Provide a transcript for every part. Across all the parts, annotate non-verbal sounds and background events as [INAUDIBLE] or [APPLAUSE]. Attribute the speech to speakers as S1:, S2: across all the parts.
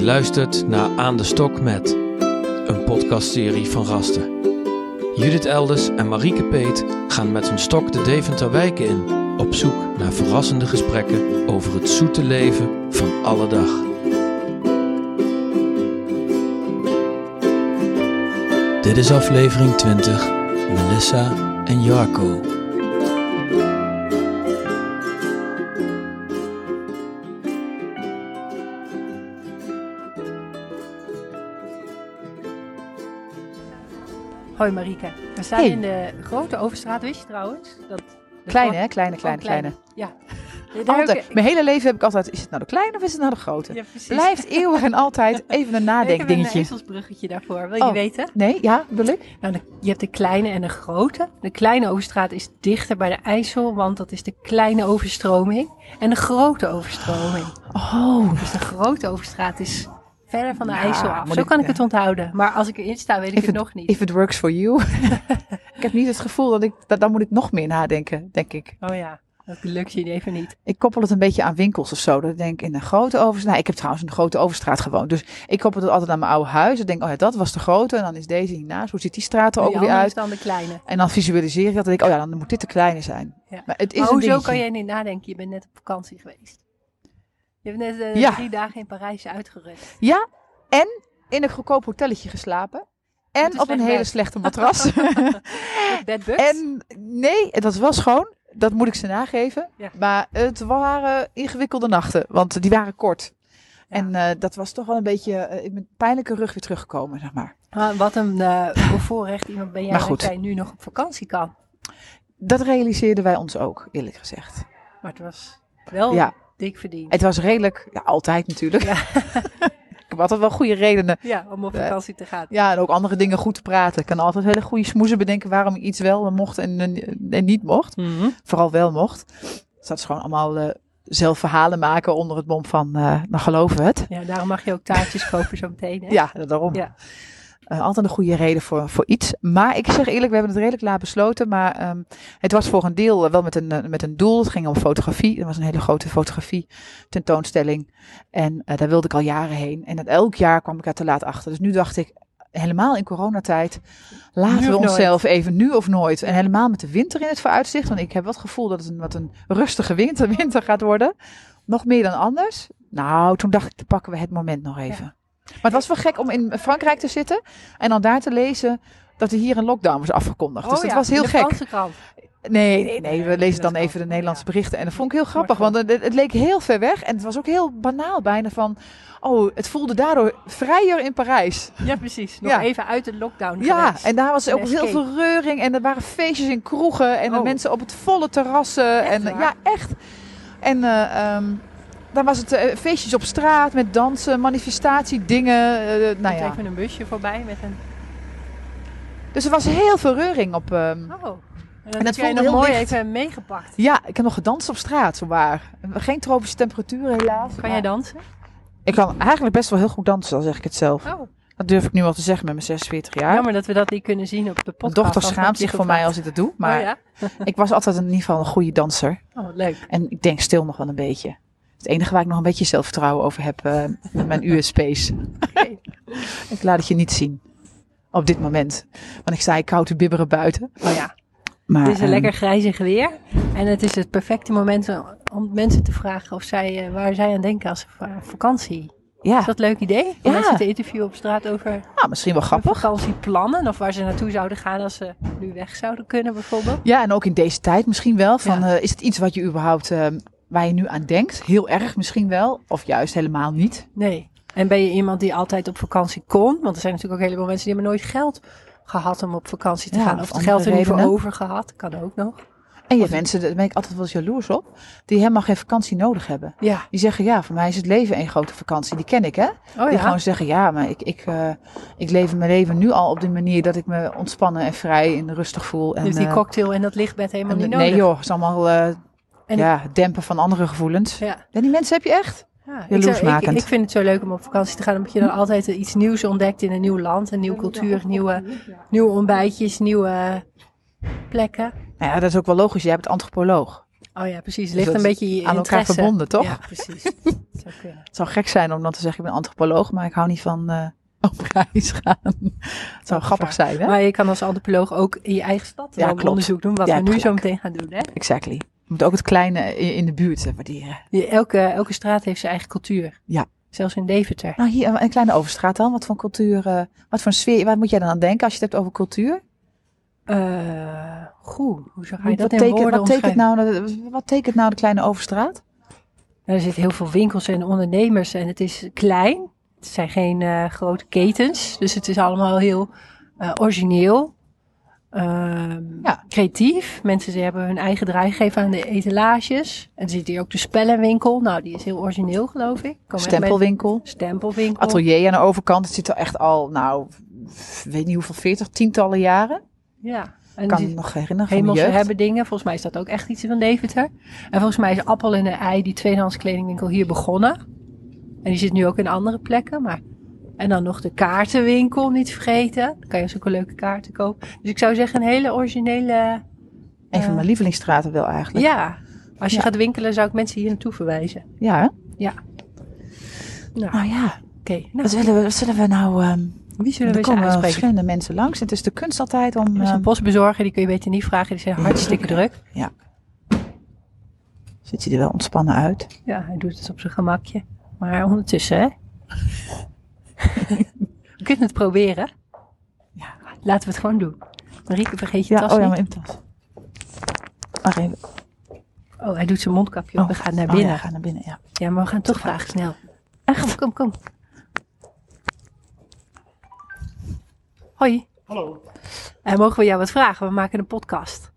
S1: luistert naar Aan de Stok met, een podcastserie van Rasten. Judith Elders en Marieke Peet gaan met hun stok de Deventer wijken in, op zoek naar verrassende gesprekken over het zoete leven van alle dag. Dit is aflevering 20, Melissa en Jarko.
S2: Hoi Marika, we staan
S3: Hey.
S2: in de grote overstraat, wist je trouwens? Dat de
S3: Kleine,
S2: grote-
S3: hè? Kleine,
S2: Dus gewoon
S3: kleine, kleine.
S2: Ja. Nee, daar
S3: Altijd.
S2: heb ik-
S3: Mijn hele leven heb ik altijd, is het nou de kleine of is het nou de grote?
S2: ja, precies.
S3: Blijft eeuwig en
S2: [LAUGHS]
S3: altijd even een
S2: Ik heb een
S3: nadenkdingetje.
S2: ezelsbruggetje daarvoor, wil je die
S3: Oh.
S2: weten?
S3: Nee, ja, wil ik?
S2: Nou, de- je hebt de kleine en de grote. De kleine overstraat is dichter bij de IJssel, want dat is de kleine overstroming. En de grote overstroming.
S3: Oh,
S2: Dus de grote overstraat is verder van de
S3: Nou,
S2: IJssel af.
S3: moet
S2: Zo
S3: ik-
S2: kan ik het onthouden. Maar als ik erin sta, weet ik het nog niet.
S3: if it works for
S2: [LAUGHS]
S3: you. ik heb niet het gevoel dat ik, dat, dan moet ik nog meer nadenken, denk ik.
S2: Oh ja, dat lukt je even niet.
S3: Ik koppel het een beetje aan winkels of zo. Dat ik denk in een grote overstraat. Nou, ik heb trouwens in een grote overstraat gewoond. Dus ik koppel het altijd aan mijn oude huis. Ik denk, oh ja, dat was de grote. En dan is deze hiernaast. Hoe ziet die straat er
S2: Die
S3: ook weer
S2: andere is
S3: uit?
S2: dan de kleine.
S3: En dan visualiseer ik dat. En denk ik, oh ja, dan moet dit de kleine zijn.
S2: Ja.
S3: Maar het is
S2: Maar
S3: een
S2: hoezo
S3: dingetje.
S2: kan jij niet nadenken? Je bent net op vakantie geweest. Je hebt net eh,
S3: Ja.
S2: drie dagen in Parijs uitgerust.
S3: in een goedkoop hotelletje geslapen.
S2: Met een
S3: En op een
S2: slecht
S3: hele
S2: bed. [LAUGHS]
S3: slechte matras. [LAUGHS]
S2: Bedbugs?
S3: en nee, dat was gewoon. Dat moet ik ze nageven.
S2: Ja.
S3: Maar het waren ingewikkelde nachten, want die waren kort. En eh, dat was toch wel een beetje eh, ik ben pijnlijke rug weer teruggekomen, zeg maar.
S2: Ah, wat een eh, bevoorrecht iemand ben jij
S3: Maar
S2: dat
S3: goed.
S2: jij nu nog op vakantie kan.
S3: Dat realiseerden wij ons ook, eerlijk gezegd.
S2: Maar het was wel
S3: Ja,
S2: dik verdiend.
S3: het was redelijk, ja, altijd natuurlijk.
S2: Oh. Ja.
S3: [LAUGHS] ik heb altijd wel goede redenen.
S2: Ja, om op
S3: Eh,
S2: vakantie te gaan.
S3: Ja, en ook andere dingen goed te praten. Ik kan altijd hele goede smoezen bedenken waarom ik iets wel mocht en, en niet mocht. vooral wel mocht. Dus dat is gewoon allemaal eh, zelf verhalen maken onder het mom van, eh dan geloven we het.
S2: Ja, daarom mag je ook taartjes kopen zo meteen. Hè?
S3: Ja, daarom.
S2: Ja.
S3: Eh, altijd een goede reden voor, voor iets. Maar ik zeg eerlijk, we hebben het redelijk laat besloten. Maar ehm, het was voor een deel eh, wel met een, eh, met een doel. Het ging om fotografie. Er was een hele grote fotografie tentoonstelling. En eh, daar wilde ik al jaren heen. En dat elk jaar kwam ik daar te laat achter. Dus nu dacht ik, helemaal in coronatijd,
S2: Nu
S3: laten
S2: of
S3: we
S2: nooit.
S3: onszelf even nu of nooit. En helemaal met de winter in het vooruitzicht. Want ik heb wel het gevoel dat het een, wat een rustige winter, [LAUGHS] winter gaat worden. Nog meer dan anders. Nou, toen dacht ik, dan pakken we het moment nog even. Maar het was wel gek om in Frankrijk te zitten en dan daar te lezen dat er hier een lockdown was afgekondigd.
S2: Oh
S3: dus dat
S2: ja,
S3: was heel
S2: de
S3: gek.
S2: Franse krant.
S3: Nee, nee, nee. We
S2: Nee,
S3: lezen
S2: dat
S3: dan
S2: kan.
S3: even de Nederlandse
S2: Ja.
S3: berichten. En dat vond ik heel grappig,
S2: Smartphone.
S3: want het, het leek heel ver weg. En het was ook heel banaal bijna van... Oh, het voelde daardoor vrijer in Parijs.
S2: Ja, precies. Nog
S3: Ja.
S2: even uit de lockdown
S3: Ja,
S2: geweest.
S3: en daar was
S2: Een
S3: ook heel
S2: escape.
S3: veel reuring. En er waren feestjes in kroegen. En de
S2: Oh.
S3: mensen op het volle terrassen.
S2: Echt
S3: en
S2: waar?
S3: Ja, echt. En eh, ehm, daar was het eh, feestjes op straat met dansen, manifestatie, dingen. eh, nou
S2: Komt
S3: ja.
S2: even een busje voorbij met een...
S3: Dus er was heel veel reuring op... ehm,
S2: Oh. En dan
S3: dat
S2: heb jij
S3: voelde
S2: nog
S3: heel
S2: mooi
S3: licht.
S2: even meegepakt.
S3: Ja, ik heb nog gedanst op straat, zowaar. Geen tropische temperaturen helaas.
S2: Kan jij dansen?
S3: Ik kan eigenlijk best wel heel goed dansen, al zeg ik het zelf.
S2: Oh.
S3: Dat durf ik nu al te zeggen met mijn 46 jaar.
S2: Jammer dat we dat niet kunnen zien op de podcast.
S3: Mijn dochter
S2: anders had
S3: schaamt
S2: ik je
S3: zich voor mij
S2: gevraagd.
S3: als ik dat doe. Maar
S2: Oh ja?
S3: ik was altijd in ieder geval een goede danser.
S2: Oh, wat leuk.
S3: En ik denk stil nog wel een beetje. Het enige waar ik nog een beetje zelfvertrouwen over heb, eh,
S2: [LAUGHS]
S3: mijn USP's.
S2: Oké.
S3: [LAUGHS] Ik laat het je niet zien. Op dit moment. Want ik sta hier koud te bibberen buiten.
S2: Oh ja,
S3: Maar,
S2: het is een
S3: ehm,
S2: lekker grijzig weer. En het is het perfecte moment om mensen te vragen of zij, eh, waar zij aan denken als ze va- aan vakantie.
S3: Ja,
S2: Is dat een leuk idee? Om
S3: Ja.
S2: mensen te interviewen op straat over hun
S3: nou, misschien wel grappig.
S2: vakantieplannen. Of waar ze naartoe zouden gaan als ze nu weg zouden kunnen bijvoorbeeld.
S3: Ja, en ook in deze tijd misschien wel. Van,
S2: Ja.
S3: eh, is het iets wat je überhaupt, eh, waar je nu aan denkt? Heel erg misschien wel. Of juist helemaal niet.
S2: Nee. En ben je iemand die altijd op vakantie kon? Want er zijn natuurlijk ook een heleboel mensen die hebben nooit geld gehad om op vakantie te
S3: Ja,
S2: gaan.
S3: of
S2: Of het
S3: andere
S2: geld er niet voor
S3: redenen.
S2: over gehad. Kan ook nog.
S3: En je hebt mensen, daar ben ik altijd wel eens jaloers op, die helemaal geen vakantie nodig hebben.
S2: Ja.
S3: Die zeggen, ja, voor mij is het leven één grote vakantie. Die ken ik, hè?
S2: Oh
S3: Die
S2: ja.
S3: gewoon zeggen, ja, maar ik, ik, eh, ik leef mijn leven nu al op die manier dat ik me ontspannen en vrij en rustig voel. En,
S2: Dus die
S3: eh,
S2: cocktail en dat lichtbed helemaal
S3: en-
S2: niet nodig.
S3: Nee joh, het is allemaal eh,
S2: En
S3: ja, dempen van andere gevoelens.
S2: Ja.
S3: Ja, die mensen heb je echt.
S2: Ja, ik, zou, ik,
S3: Jaloersmakend.
S2: ik vind het zo leuk om op vakantie te gaan, omdat je dan altijd eh, iets nieuws ontdekt in een nieuw land, een nieuwe cultuur, nieuwe, nieuwe ontbijtjes, nieuwe plekken.
S3: Nou ja, dat is ook wel logisch. Jij bent antropoloog.
S2: Oh ja, precies. Het ligt
S3: Dus
S2: een
S3: dat
S2: beetje je
S3: aan elkaar
S2: interesse.
S3: verbonden, toch?
S2: Ja,
S3: [LAUGHS]
S2: precies. Dat zou kunnen.
S3: Het zou gek zijn om dan te zeggen, ik ben antropoloog, maar ik hou niet van eh [LAUGHS] op reis gaan. Het zou grappig zijn, hè?
S2: Maar je kan als antropoloog ook in je eigen stad
S3: Ja,
S2: wel
S3: klopt.
S2: onderzoek doen, wat
S3: Jij
S2: we
S3: hebt
S2: nu zo
S3: gelijk.
S2: meteen gaan doen. Hè?
S3: Exactly. Je moet ook het kleine in in de buurt eh, waarderen.
S2: Je- Elke, elke straat heeft zijn eigen cultuur.
S3: Ja.
S2: Zelfs in Deventer.
S3: Nou, hier een een kleine overstraat dan. Wat voor cultuur, eh, wat voor sfeer, waar moet jij dan aan denken als je het hebt over cultuur?
S2: Eh goed, hoe zou ga je dat
S3: wat,
S2: in
S3: tekent,
S2: woorden
S3: wat, tekent
S2: omschrijven?
S3: nou, de- wat tekent nou de kleine overstraat?
S2: Nou, er zitten heel veel winkels en ondernemers en het is klein. Het zijn geen eh, grote ketens, dus het is allemaal heel eh, origineel. Ehm,
S3: Ja.
S2: Creatief. Mensen ze hebben hun eigen draai gegeven aan de etalages. En er zit hier ook de spellenwinkel. Nou, die is heel origineel, geloof ik. Komen echt met- Oh.
S3: Stempelwinkel?
S2: Stempelwinkel.
S3: Atelier aan de overkant. Het zit er echt al, nou, f- weet niet hoeveel, veertig, tientallen jaren.
S2: Ja.
S3: Ik
S2: En
S3: kan
S2: die
S3: me nog herinneren van mijn
S2: hemelse
S3: jeugd.
S2: hebben dingen. Volgens mij is dat ook echt iets van Deventer. En volgens mij is Appel en de Ei, die tweedehands kledingwinkel, hier begonnen. En die zit nu ook in andere plekken. Maar... En dan nog de kaartenwinkel, niet vergeten. Dan kan je zulke leuke kaarten kopen. Dus ik zou zeggen, een hele originele...
S3: Een van mijn lievelingsstraten wel eigenlijk.
S2: Ja, als je
S3: Ja.
S2: gaat winkelen zou ik mensen hier naartoe verwijzen.
S3: Ja, hè?
S2: Nou, oké.
S3: Nou ja,
S2: Nou,
S3: Wat zullen we, wat zullen we nou... ehm,
S2: wie zullen we
S3: er
S2: eens
S3: komen
S2: aanspreken?
S3: verschillende mensen langs. Het is de kunst altijd om...
S2: Er is een
S3: ehm,
S2: postbezorger, die kun je beter niet vragen.
S3: [LAUGHS]
S2: Die zijn hartstikke druk.
S3: ziet hij er wel ontspannen uit?
S2: Ja, hij doet het op zijn gemakje. Maar ondertussen, hè? We kunnen het proberen.
S3: Ja.
S2: Laten we het gewoon doen. Marieke, vergeet je
S3: Ja,
S2: tas
S3: oh
S2: niet.
S3: ja, maar in mijn tas. Wacht even.
S2: Oh, hij doet zijn mondkapje op.
S3: Oh,
S2: We gaan naar
S3: Oh
S2: binnen.
S3: ja,
S2: ja.
S3: ga naar binnen, ja.
S2: maar we gaan toch vragen, snel. Echt? Kom, kom, kom. Hoi.
S4: Hallo.
S2: En mogen we jou wat vragen? We maken een podcast.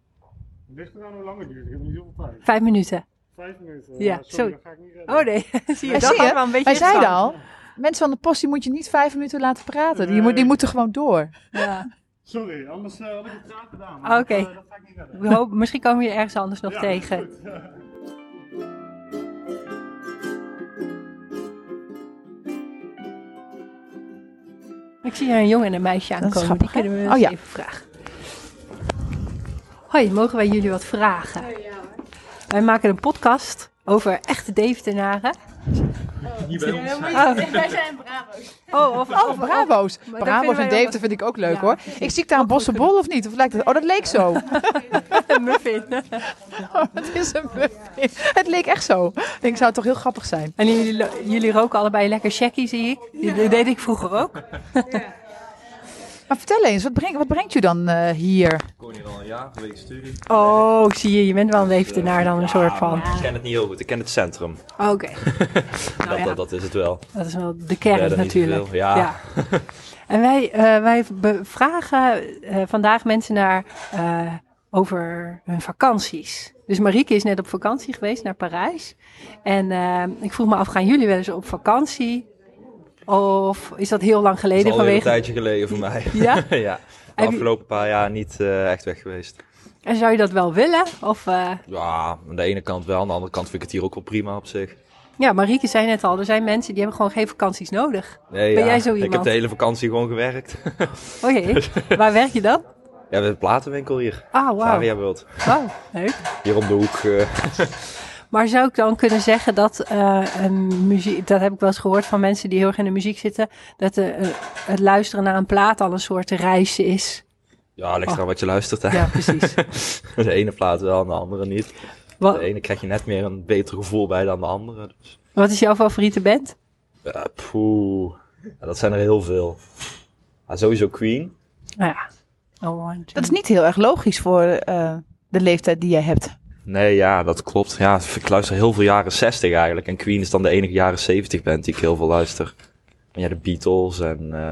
S4: Het ligt eraan hoe lang het duurt. Ik heb niet zoveel tijd.
S2: Vijf minuten.
S4: Vijf minuten. eh,
S2: Ja,
S4: sorry,
S2: sorry.
S4: dat ga ik niet redden.
S2: Oh nee, zie je,
S3: Hij
S2: dat
S3: zie
S2: had
S3: je,
S2: wel een beetje
S3: Wij zeiden
S2: instant.
S3: al, mensen van de post, die moet je niet vijf minuten laten praten. Die,
S4: Nee.
S3: moet, die moeten gewoon door.
S2: Ja.
S4: Sorry, anders eh, had ik het graag gedaan.
S2: Ah,
S4: maar
S2: oké.
S4: dat, eh, dat ga ik niet redden.
S2: We hopen, misschien komen we je ergens anders nog
S4: Ja,
S2: tegen.
S4: goed.
S2: Ik zie hier een jongen en een meisje
S3: is
S2: aankomen.
S3: grappig,
S2: Die
S3: hè?
S2: kunnen we
S3: Oh,
S2: eens
S3: ja.
S2: even vragen. Hoi, mogen wij jullie wat
S5: Oh,
S2: vragen? Wij maken een podcast over echte Deventenaren.
S5: Wij zijn Bravo's.
S2: Oh, of,
S3: Oh, Bravo's.
S2: dat
S3: Bravo's
S2: vinden wij
S3: en Dave,
S2: ook-
S3: dat vind ik ook leuk
S2: Ja,
S3: hoor.
S2: precies.
S3: Ik zie daar een bossenbol of niet? Of lijkt het... Oh, dat leek
S2: [LAUGHS]
S3: zo.
S2: een [LAUGHS] muffin.
S3: Het is een bluff. Het leek echt zo. Ik denk, zou het toch heel grappig zijn.
S2: En jullie, lo- jullie roken allebei lekker shaggy, zie ik. Dat deed ik vroeger ook.
S3: Maar vertel eens, wat, breng, wat brengt u dan eh, hier?
S6: Ik woon hier al een jaar, een week studie.
S2: Oh, zie je, je bent wel een Deventenaar dan een soort van.
S6: Ah, Ik ken het niet heel goed, ik ken het centrum.
S2: Oké,
S5: [LAUGHS]
S2: Nou
S6: dat,
S2: ja.
S6: dat, dat is het wel.
S2: dat is wel de
S6: Ja,
S2: kern
S6: dan niet
S2: natuurlijk.
S6: zoveel. Ja.
S2: Ja. En wij, eh, wij be- vragen eh, vandaag mensen naar, eh, over hun vakanties. Dus Marieke is net op vakantie geweest naar Parijs. En eh, ik vroeg me af, gaan jullie wel eens op vakantie? Of is dat heel lang
S6: Het
S2: geleden
S6: is alweer een
S2: vanwege...
S6: tijdje geleden voor mij.
S2: Ja?
S6: [LAUGHS] ja. De
S2: je-
S6: afgelopen paar jaar niet eh, echt weg geweest.
S2: En zou je dat wel willen? Of, eh,
S6: Ja, aan de ene kant wel, aan de andere kant vind ik het hier ook wel prima op zich.
S2: Ja, Marieke zei net al, er zijn mensen die hebben gewoon geen vakanties nodig.
S6: Nee,
S2: Ben
S6: ja,
S2: jij zo
S6: Ik
S2: iemand?
S6: heb de hele vakantie gewoon gewerkt. [LAUGHS]
S2: Oh jee, waar werk je dan?
S6: ja, we hebben een platenwinkel hier.
S2: Ah, wauw. Oh.
S6: Aria World.
S2: Wauw, leuk.
S6: Hier om de hoek. eh,
S2: Maar zou ik dan kunnen zeggen dat eh, een muziek, dat heb ik wel eens gehoord van mensen die heel erg in de muziek zitten, dat de, eh, het luisteren naar een plaat al een soort reis is?
S6: ja, ligt eraan wat je luistert. Hè.
S2: Oh. Ja, precies.
S6: [LAUGHS]
S2: Oh.
S6: De ene plaat wel, en de andere niet.
S2: Wa-
S6: De ene krijg je net meer een beter gevoel bij dan de andere. Dus,
S2: wat is jouw favoriete band?
S6: eh, poeh. Ja, dat zijn er heel veel. Ja, sowieso Queen.
S2: Nou ja. Oh, one, two.
S3: Dat is niet heel erg logisch voor eh, de leeftijd die jij hebt.
S6: Nee, ja, dat klopt. Ja, ik luister heel veel jaren 60 eigenlijk. En Queen is dan de enige jaren 70 band die ik heel veel luister. En ja, de Beatles en eh,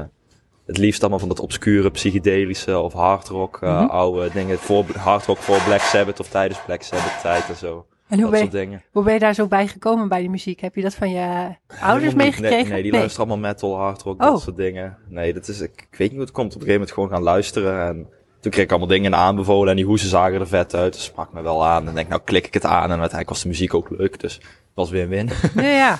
S6: het liefst allemaal van dat obscure psychedelische of hardrock eh,
S3: Mhm.
S6: oude dingen. Voor, hardrock voor Black Sabbath of tijdens Black Sabbath tijd en zo.
S2: en hoe
S6: dat
S2: ben,
S6: soort
S2: je,
S6: dingen.
S2: hoe ben je daar zo bij gekomen bij die muziek? Heb je dat van je ouders
S6: Helemaal niet.
S2: meegekregen?
S6: Nee, nee, die luisteren allemaal metal, hardrock,
S2: Oh.
S6: dat soort dingen. Nee, dat is, ik, ik weet niet hoe het komt. Op een gegeven moment gewoon gaan luisteren en... Toen kreeg ik allemaal dingen aanbevolen en die hoezen zagen er vet uit. Dat sprak me wel aan. En denk, nou klik ik het aan. En uiteindelijk was de muziek ook leuk. Dus het was win-win.
S2: Ja, ja.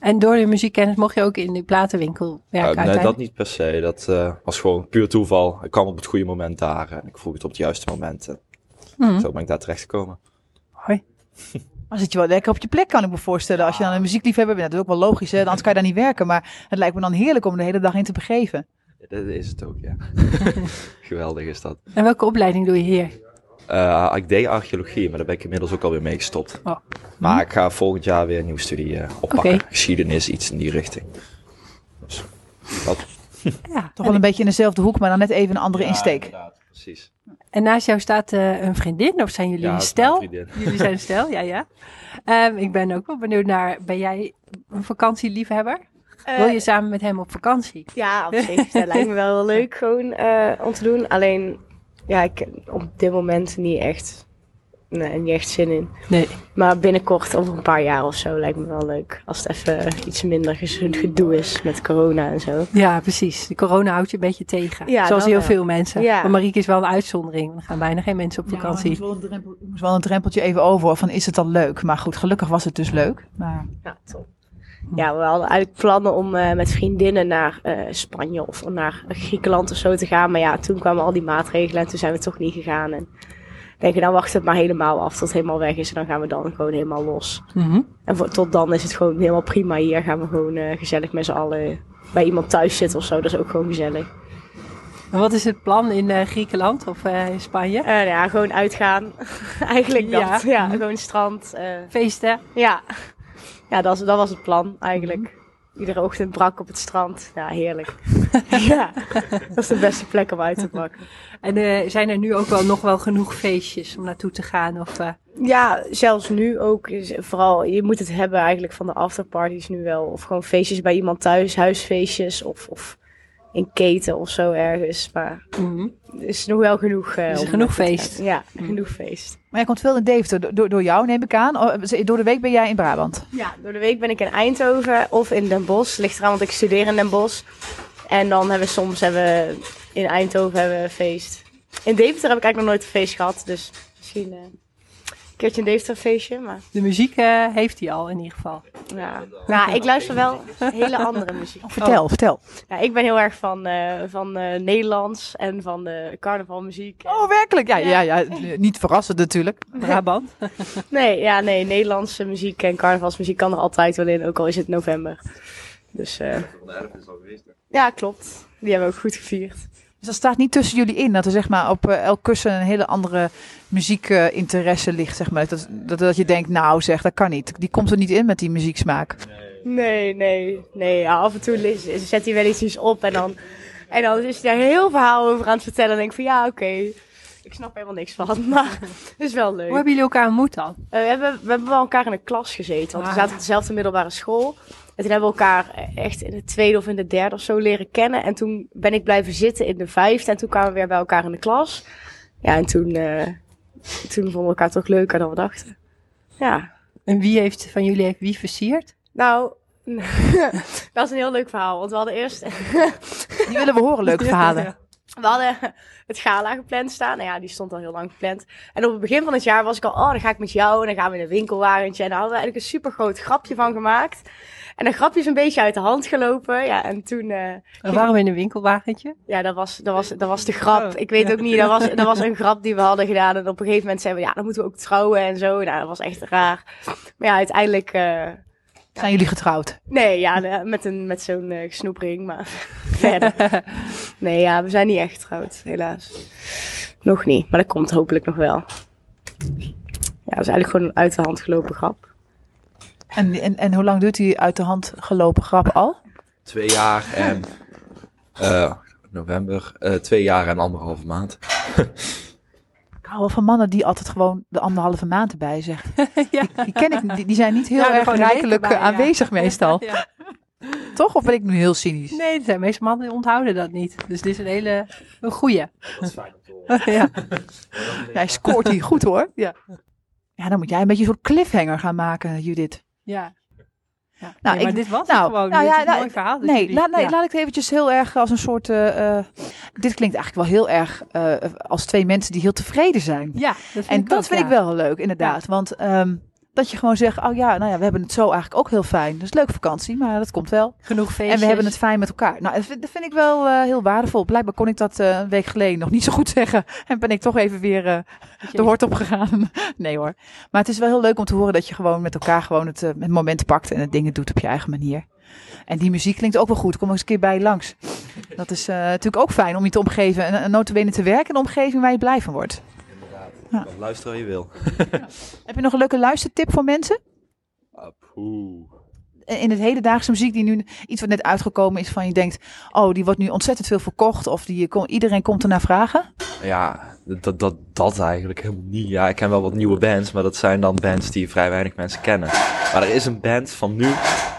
S2: En door je muziekkennis mocht je ook in de platenwinkel werken
S6: Eh, nee, dat
S2: uiteindelijk?
S6: niet per se. Dat eh, was gewoon puur toeval. Ik kwam op het goede moment daar en ik vroeg het op het juiste moment. En
S2: Mhm.
S6: Zo ben ik daar terecht gekomen.
S2: Hoi.
S3: Dan zit je wel lekker op je plek, kan ik me voorstellen. Als je dan een muziekliefhebber bent, dat is ook wel logisch, hè? anders kan je daar niet werken. Maar het lijkt me dan heerlijk om de hele dag in te begeven.
S6: Dat is het ook,
S2: [LAUGHS]
S6: ja. [LAUGHS] Geweldig is dat.
S2: En welke opleiding doe je hier?
S6: Eh, ik deed archeologie, maar daar ben ik inmiddels ook alweer mee gestopt.
S2: Oh.
S6: Maar ik ga volgend jaar weer een nieuwe studie eh, oppakken.
S2: Oké.
S6: Geschiedenis, iets in die richting. Dus dat...
S2: Ja,
S3: Toch wel een beetje in dezelfde hoek, maar dan net even een andere insteek.
S6: precies.
S2: En naast jou staat eh, een vriendin, of zijn jullie
S6: Ja,
S2: een
S6: dat is
S2: stel?
S6: mijn vriendin.
S2: Jullie zijn een stel, ja, ja. Ehm, ik ben ook wel benieuwd naar, ben jij een vakantieliefhebber? Wil je samen met hem op vakantie?
S5: Eh, Ja, op zich. dat lijkt me wel
S2: [LAUGHS]
S5: heel leuk gewoon eh, om te doen. Alleen, ja, ik op dit moment niet echt, nee, niet echt zin in.
S2: Nee.
S5: Maar binnenkort, over een paar jaar of zo, lijkt me wel leuk. Als het even iets minder gez- gedoe is met corona en zo.
S2: Ja, precies. De corona houdt je een beetje tegen.
S5: Ja,
S2: zoals
S5: dat
S2: heel
S5: wel.
S2: veel mensen.
S5: Ja.
S2: Maar Marieke is wel een uitzondering. want Er gaan bijna geen mensen op vakantie.
S3: Ja, maar het moest wel een drempel- het moest wel een drempeltje even over, hoor, van is het al leuk? Maar goed, gelukkig was het dus leuk. Maar
S5: Ja, top. Ja, we hadden eigenlijk plannen om eh, met vriendinnen naar eh, Spanje of naar Griekenland of zo te gaan. Maar ja, toen kwamen al die maatregelen en toen zijn we toch niet gegaan. En denken, dan wacht het maar helemaal af tot het helemaal weg is. En dan gaan we dan gewoon helemaal los.
S2: Mhm.
S5: En voor, tot dan is het gewoon helemaal prima hier. Gaan we gewoon eh, gezellig met z'n allen bij iemand thuis zitten of zo. Dat is ook gewoon gezellig.
S2: En wat is het plan in eh, Griekenland of eh, in Spanje?
S5: Eh, nou ja, gewoon uitgaan. [LAUGHS] eigenlijk
S2: Ja.
S5: dat. Ja, gewoon strand. eh,
S2: Feesten?
S5: ja, Mhm. ja dat, is- dat was het plan eigenlijk. Iedere ochtend brak op het strand. Ja, heerlijk. [LAUGHS] ja, dat is de beste plek om uit te pakken.
S2: En eh, zijn er nu ook wel nog wel genoeg feestjes om naartoe te gaan? Of, eh,
S5: Ja, zelfs nu ook. is- Vooral, je moet het hebben eigenlijk van de afterparties nu wel. Of gewoon feestjes bij iemand thuis, huisfeestjes of, of in keten of zo ergens. Maar
S2: mhm.
S5: er is nog wel genoeg. eh,
S2: Is er
S5: om
S2: genoeg
S5: naartoe te
S2: feest? Hm.
S5: gaan. Ja, genoeg feest.
S3: Maar jij komt veel in Deventer, do- door, door jou neem ik aan. Oh, Door de week ben jij in Brabant.
S5: Ja, door de week ben ik in Eindhoven of in Den Bosch. Ligt eraan, want ik studeer in Den Bosch. En dan hebben we soms hebben we in Eindhoven hebben we een feest. In Deventer heb ik eigenlijk nog nooit een feest gehad. Dus misschien eh, een keertje een Deventer feestje. Maar
S2: De muziek eh, heeft hij al in ieder geval.
S5: ja. Nou, ik luister wel hele andere
S2: [LAUGHS]
S5: muziek.
S3: Vertel, vertel.
S5: Ja, ik ben heel erg van, eh, van eh, Nederlands en van de carnavalmuziek.
S3: Oh, werkelijk? Ja, ja, ja. Niet verrassend natuurlijk.
S2: Brabant.
S5: Nee, ja, nee, Nederlandse muziek en carnavalsmuziek kan er altijd wel in, ook al is het november. Dus eh, ja, klopt. Die hebben we ook goed gevierd.
S3: Dus dat staat niet tussen jullie in, dat er zeg maar op eh, elk kussen een hele andere muziekinteresse ligt, zeg maar. Dat, dat, dat je denkt, nou zeg, dat kan niet. Die komt er niet in met die muzieksmaak.
S5: Nee, nee, nee. Ja, af en toe li- zet hij wel eens iets op en dan, en dan is hij daar heel verhaal over aan het vertellen. En denk ik van ja, oké, ik snap helemaal niks van, [LAUGHS] maar het is wel leuk.
S2: Hoe hebben jullie elkaar ontmoet dan?
S5: Eh, we, hebben, we hebben wel elkaar in een klas gezeten, want we
S2: Ah,
S5: zaten
S2: ja.
S5: op dezelfde middelbare school. En toen hebben we elkaar eh, echt in de tweede of in de derde of zo leren kennen. En toen ben ik blijven zitten in de vijfde en toen kwamen we weer bij elkaar in de klas. Ja, en toen, eh, toen vonden we elkaar toch leuker dan we dachten. Ja.
S2: En wie heeft van jullie heeft wie versierd?
S5: [LAUGHS] Nou, dat is een heel leuk verhaal. Want we hadden eerst
S3: Die willen we horen, leuke verhalen.
S5: we hadden [LAUGHS] het gala gepland staan. Nou ja, die stond al heel lang gepland. En op het begin van het jaar was ik al, oh, dan ga ik met jou en dan gaan we in een winkelwagentje. En daar hadden we eigenlijk een super groot grapje van gemaakt. En dat grapje is een beetje uit de hand gelopen. Ja, en toen, eh,
S2: En waarom in een winkelwagentje?
S5: ja, dat was, dat, was, dat was de grap.
S2: Oh,
S5: Ik weet
S2: ja.
S5: ook niet, dat was, dat was een grap die we hadden gedaan. En op een gegeven moment zeiden we, ja, dan moeten we ook trouwen en zo. Nou, dat was echt raar. Maar ja, uiteindelijk, eh,
S3: Zijn jullie getrouwd?
S5: nee, ja, de- met, een- met zo'n eh, snoepring. Maar [LAUGHS] verder. Nee, ja, we zijn niet echt getrouwd, helaas. Nog niet, maar dat komt hopelijk nog wel. Ja, dat is eigenlijk gewoon een uit de hand gelopen grap.
S3: En, en, en hoe lang duurt die uit de hand gelopen grap al?
S6: Twee jaar en... eh, november. eh, twee jaar en anderhalve maand.
S3: Ik hou wel van mannen die altijd gewoon de anderhalve maand erbij zeggen.
S2: [LAUGHS] ja.
S3: Die ken ik, die, die zijn niet heel
S2: Ja,
S3: erg
S2: gewoon een week
S3: rijkelijk
S2: erbij, [LAUGHS]
S3: eh,
S2: ja.
S3: aanwezig meestal.
S2: Ja.
S3: Toch? Of ben ik nu heel cynisch?
S2: Nee, de zijn meeste mannen onthouden dat niet. Dus dit is een hele een
S3: [LAUGHS]
S2: goeie. Dat is fijn ja.
S3: Jij scoort hier goed hoor. Ja. ja, dan moet jij een beetje een soort cliffhanger gaan maken, Judith.
S2: ja. ja.
S3: Nou,
S2: Nee, maar
S3: ik-
S2: dit was
S3: nou,
S2: het gewoon.
S3: nou
S2: dit
S3: ja,
S2: is een
S3: nou,
S2: mooi verhaal. dat
S3: Nee,
S2: jullie-
S3: laat, nee
S2: ja.
S3: laat ik het eventjes heel erg als een soort... eh, eh, dit klinkt eigenlijk wel heel erg eh, als twee mensen die heel tevreden zijn.
S2: Ja, dat vind
S3: en
S2: ik
S3: dat
S2: ook,
S3: vind
S2: ja.
S3: ik wel heel leuk, inderdaad. Want ehm, Dat je gewoon zegt, oh ja, nou ja, we hebben het zo eigenlijk ook heel fijn. Dat is leuk vakantie, maar dat komt wel.
S2: Genoeg feestjes.
S3: En we hebben het fijn met elkaar. Nou, dat vind, dat vind ik wel eh, heel waardevol. Blijkbaar kon ik dat eh, een week geleden nog niet zo goed [LAUGHS] zeggen. En ben ik toch even weer eh, de hort op gegaan. [LAUGHS] nee hoor. Maar het is wel heel leuk om te horen dat je gewoon met elkaar gewoon het, eh, het moment pakt en het dingen doet op je eigen manier. En die muziek klinkt ook wel goed. Kom eens een keer bij je langs. Dat is eh, natuurlijk ook fijn om je te omgeven. En, en notabene te werken in een omgeving waar je blij van wordt. Ja.
S6: Dan luister wat je wil.
S3: Heb je nog een leuke luistertip voor mensen?
S6: Ah, Apoe.
S3: Eh, in het hedendaagse muziek die nu iets wat net uitgekomen is van je denkt, oh die wordt nu ontzettend veel verkocht of die kon- iedereen komt ernaar vragen. Nou,
S6: Ja, dat, dat, dat eigenlijk helemaal niet. Ja, ik ken wel wat nieuwe bands, maar dat zijn dan bands die vrij weinig mensen kennen. Maar er is een band van nu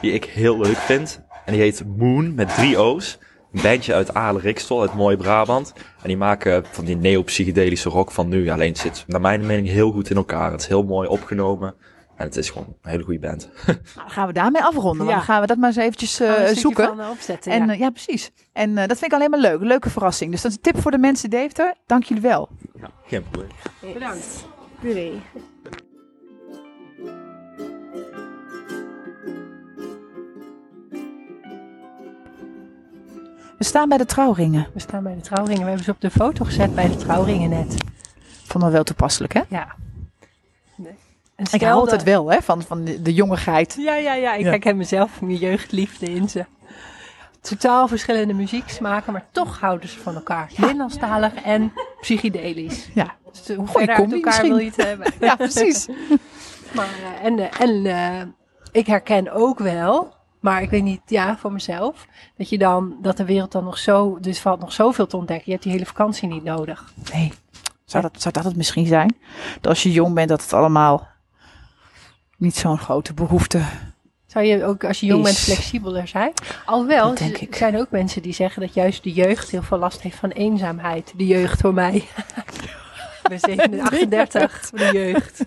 S6: die ik heel leuk vind. En die heet Moon met drie O's. Een bandje uit Aalen-Rikstol, uit Mooi Brabant. En die maken van die neopsychedelische rock van nu. Alleen het zit naar mijn mening heel goed in elkaar. Het is heel mooi opgenomen. En het is gewoon een hele goede band.
S3: Nou, dan gaan we daarmee afronden, want
S2: Ja.
S3: dan gaan we dat maar eens eventjes eh,
S2: Gaan we Oh, een stukje
S3: zoeken.
S2: van opzetten,
S3: en
S2: ja.
S3: eh, ja, precies. En eh, dat vind ik alleen maar leuk. Leuke verrassing. Dus dat is een tip voor de mensen, Deventer. Dank jullie wel.
S6: Geen probleem.
S2: Bedankt.
S5: Doei.
S3: We staan bij de trouwringen.
S2: We staan bij de trouwringen. We hebben ze op de foto gezet bij de trouwringen net.
S3: Vonden we wel toepasselijk, hè?
S2: Ja. En
S3: Ik hou altijd wel hè, van, van de de
S2: [LAUGHS]
S3: jongigheid.
S2: Ja, ja, ja. Ik
S3: Ja.
S2: herken mezelf, mijn jeugdliefde in ze. Totaal verschillende muzieksmaken, maar toch houden ze van elkaar. Nederlandstalig en psychedelisch.
S3: Ja.
S2: Dus hoe
S3: Goeie
S2: verder uit
S3: combi
S2: elkaar
S3: misschien.
S2: wil je het hebben.
S3: [LAUGHS] Ja, precies.
S2: [LAUGHS] Maar, eh, en eh, en eh, ik herken ook wel, maar ik weet niet, ja, voor mezelf, dat je dan, dat de wereld dan nog zo, dus valt nog zoveel te ontdekken. Je hebt die hele vakantie niet nodig.
S3: Nee. Zou dat, zou dat het misschien zijn? Dat als je jong bent, dat het allemaal niet zo'n grote behoefte
S2: Zou je ook als je jong bent
S3: Is.
S2: flexibeler zijn? Alhoewel,
S3: Dat denk
S2: er
S3: ik.
S2: zijn ook mensen die zeggen dat juist de jeugd heel veel last heeft van eenzaamheid. De jeugd voor mij. [LAUGHS] Ik ben 37, 38, de jeugd.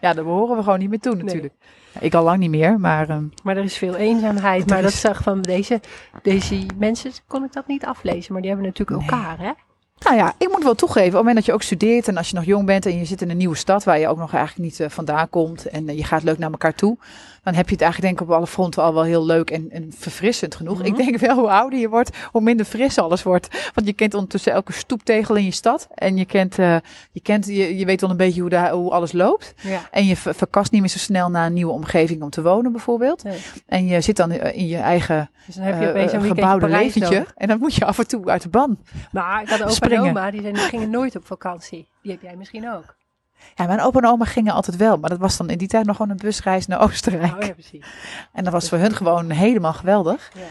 S3: Ja, daar behoren we gewoon niet meer toe
S2: Nee.
S3: natuurlijk. Ja, Ik al lang niet meer, maar ehm,
S2: Maar er is veel eenzaamheid.
S3: Er
S2: maar dat
S3: is-
S2: zag van deze, deze mensen, kon ik dat niet aflezen. Maar die hebben natuurlijk
S3: Nee.
S2: elkaar, hè?
S3: nou ja, ik moet wel toegeven, op het moment dat je ook studeert en als je nog jong bent en je zit in een nieuwe stad waar je ook nog eigenlijk niet eh, vandaan komt en eh, je gaat leuk naar elkaar toe, dan heb je het eigenlijk denk ik op alle fronten al wel heel leuk en, en verfrissend genoeg. Ik denk wel, hoe ouder je wordt, hoe minder fris alles wordt. Want je kent ondertussen elke stoeptegel in je stad en je, kent, eh, je, kent, je, je weet wel een beetje hoe, daar, hoe alles loopt.
S2: Ja.
S3: En je ver- verkast niet meer zo snel naar een nieuwe omgeving om te wonen bijvoorbeeld.
S2: Nee.
S3: En je zit dan eh, in je eigen
S2: Dus dan heb je
S3: eh,
S2: opeens een
S3: eh,
S2: weekendje
S3: gebouwde
S2: Parijs
S3: leventje.
S2: nodig.
S3: En dan moet je af en toe uit de ban.
S2: Maar ik had opa
S3: Springen.
S2: en oma, die, zijn, die gingen nooit op vakantie. Die heb jij misschien ook.
S3: Ja, mijn opa en oma gingen altijd wel. Maar dat was dan in die tijd nog gewoon een busreis naar Oostenrijk.
S2: Oh ja, precies.
S3: En dat was voor hun gewoon helemaal geweldig.
S2: Ja.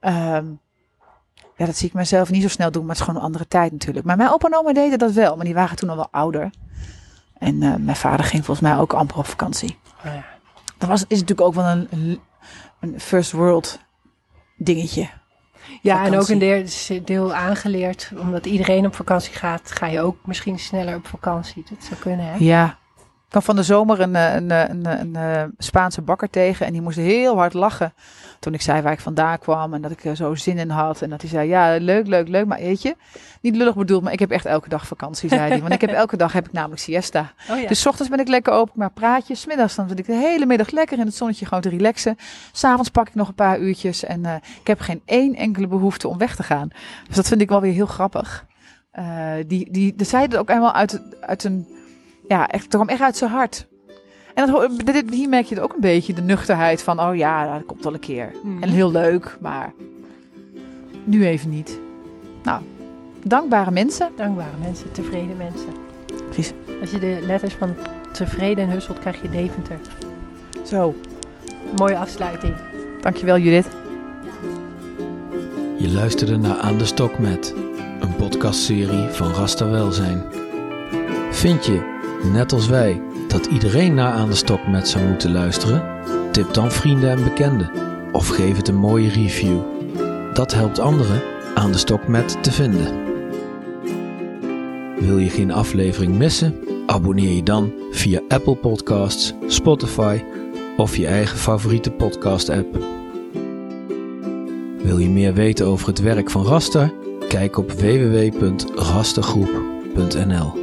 S3: Ehm, ja, dat zie ik mezelf niet zo snel doen, maar het is gewoon een andere tijd natuurlijk. Maar mijn opa en oma deden dat wel, maar die waren toen al wel ouder. En eh, mijn vader ging volgens mij ook amper op vakantie.
S2: Oh ja.
S3: Dat was, is natuurlijk ook wel een, een- een first world dingetje.
S2: Ja, en
S3: vakantie.
S2: ook een deel, is een deel aangeleerd. Omdat iedereen op vakantie gaat, ga je ook misschien sneller op vakantie. Dat zou kunnen, hè?
S3: Ja. Ik kwam van de zomer een, eh, een, eh, een, eh, een, eh, Spaanse bakker tegen en die moest heel hard lachen toen ik zei waar ik vandaan kwam en dat ik er zo zin in had. En dat hij zei, ja, leuk, leuk, leuk, maar weet je, niet lullig bedoeld, maar ik heb echt elke dag vakantie, zei hij. Want ik heb elke dag heb ik namelijk siesta.
S2: Oh ja.
S3: Dus 's ochtends ben ik lekker open, maar praatjes. 's Middags dan zit ik de hele middag lekker in het zonnetje gewoon te relaxen. S'avonds pak ik nog een paar uurtjes en eh, ik heb geen één enkele behoefte om weg te gaan. Dus dat vind ik wel weer heel grappig. Eh, die, die, de zei dat ook eenmaal uit, uit een, ja, echt, het kwam echt uit zijn hart. En dat, ho- dit- dit- hier merk je het ook een beetje, de nuchterheid van, oh ja, dat komt wel een keer.
S2: Mhm.
S3: En heel leuk, maar nu even niet. Nou, dankbare mensen.
S2: Dankbare mensen, tevreden mensen.
S3: Precies.
S2: Als je de letters van tevreden en husselt, krijg je Deventer.
S3: Zo,
S2: Mooie afsluiting.
S3: dankjewel Judith.
S1: Je luisterde naar Aan de Stok met, een podcastserie van Rasta Welzijn. Vind je, net als wij, dat iedereen naar Aan de Stok met zou moeten luisteren? Tip dan vrienden en bekenden of geef het een mooie review. Dat helpt anderen Aan de Stok met te vinden. Wil je geen aflevering missen? Abonneer je dan via Apple Podcasts, Spotify of je eigen favoriete podcast-app. Wil je meer weten over het werk van Raster? Kijk op www.rastergroep.nl.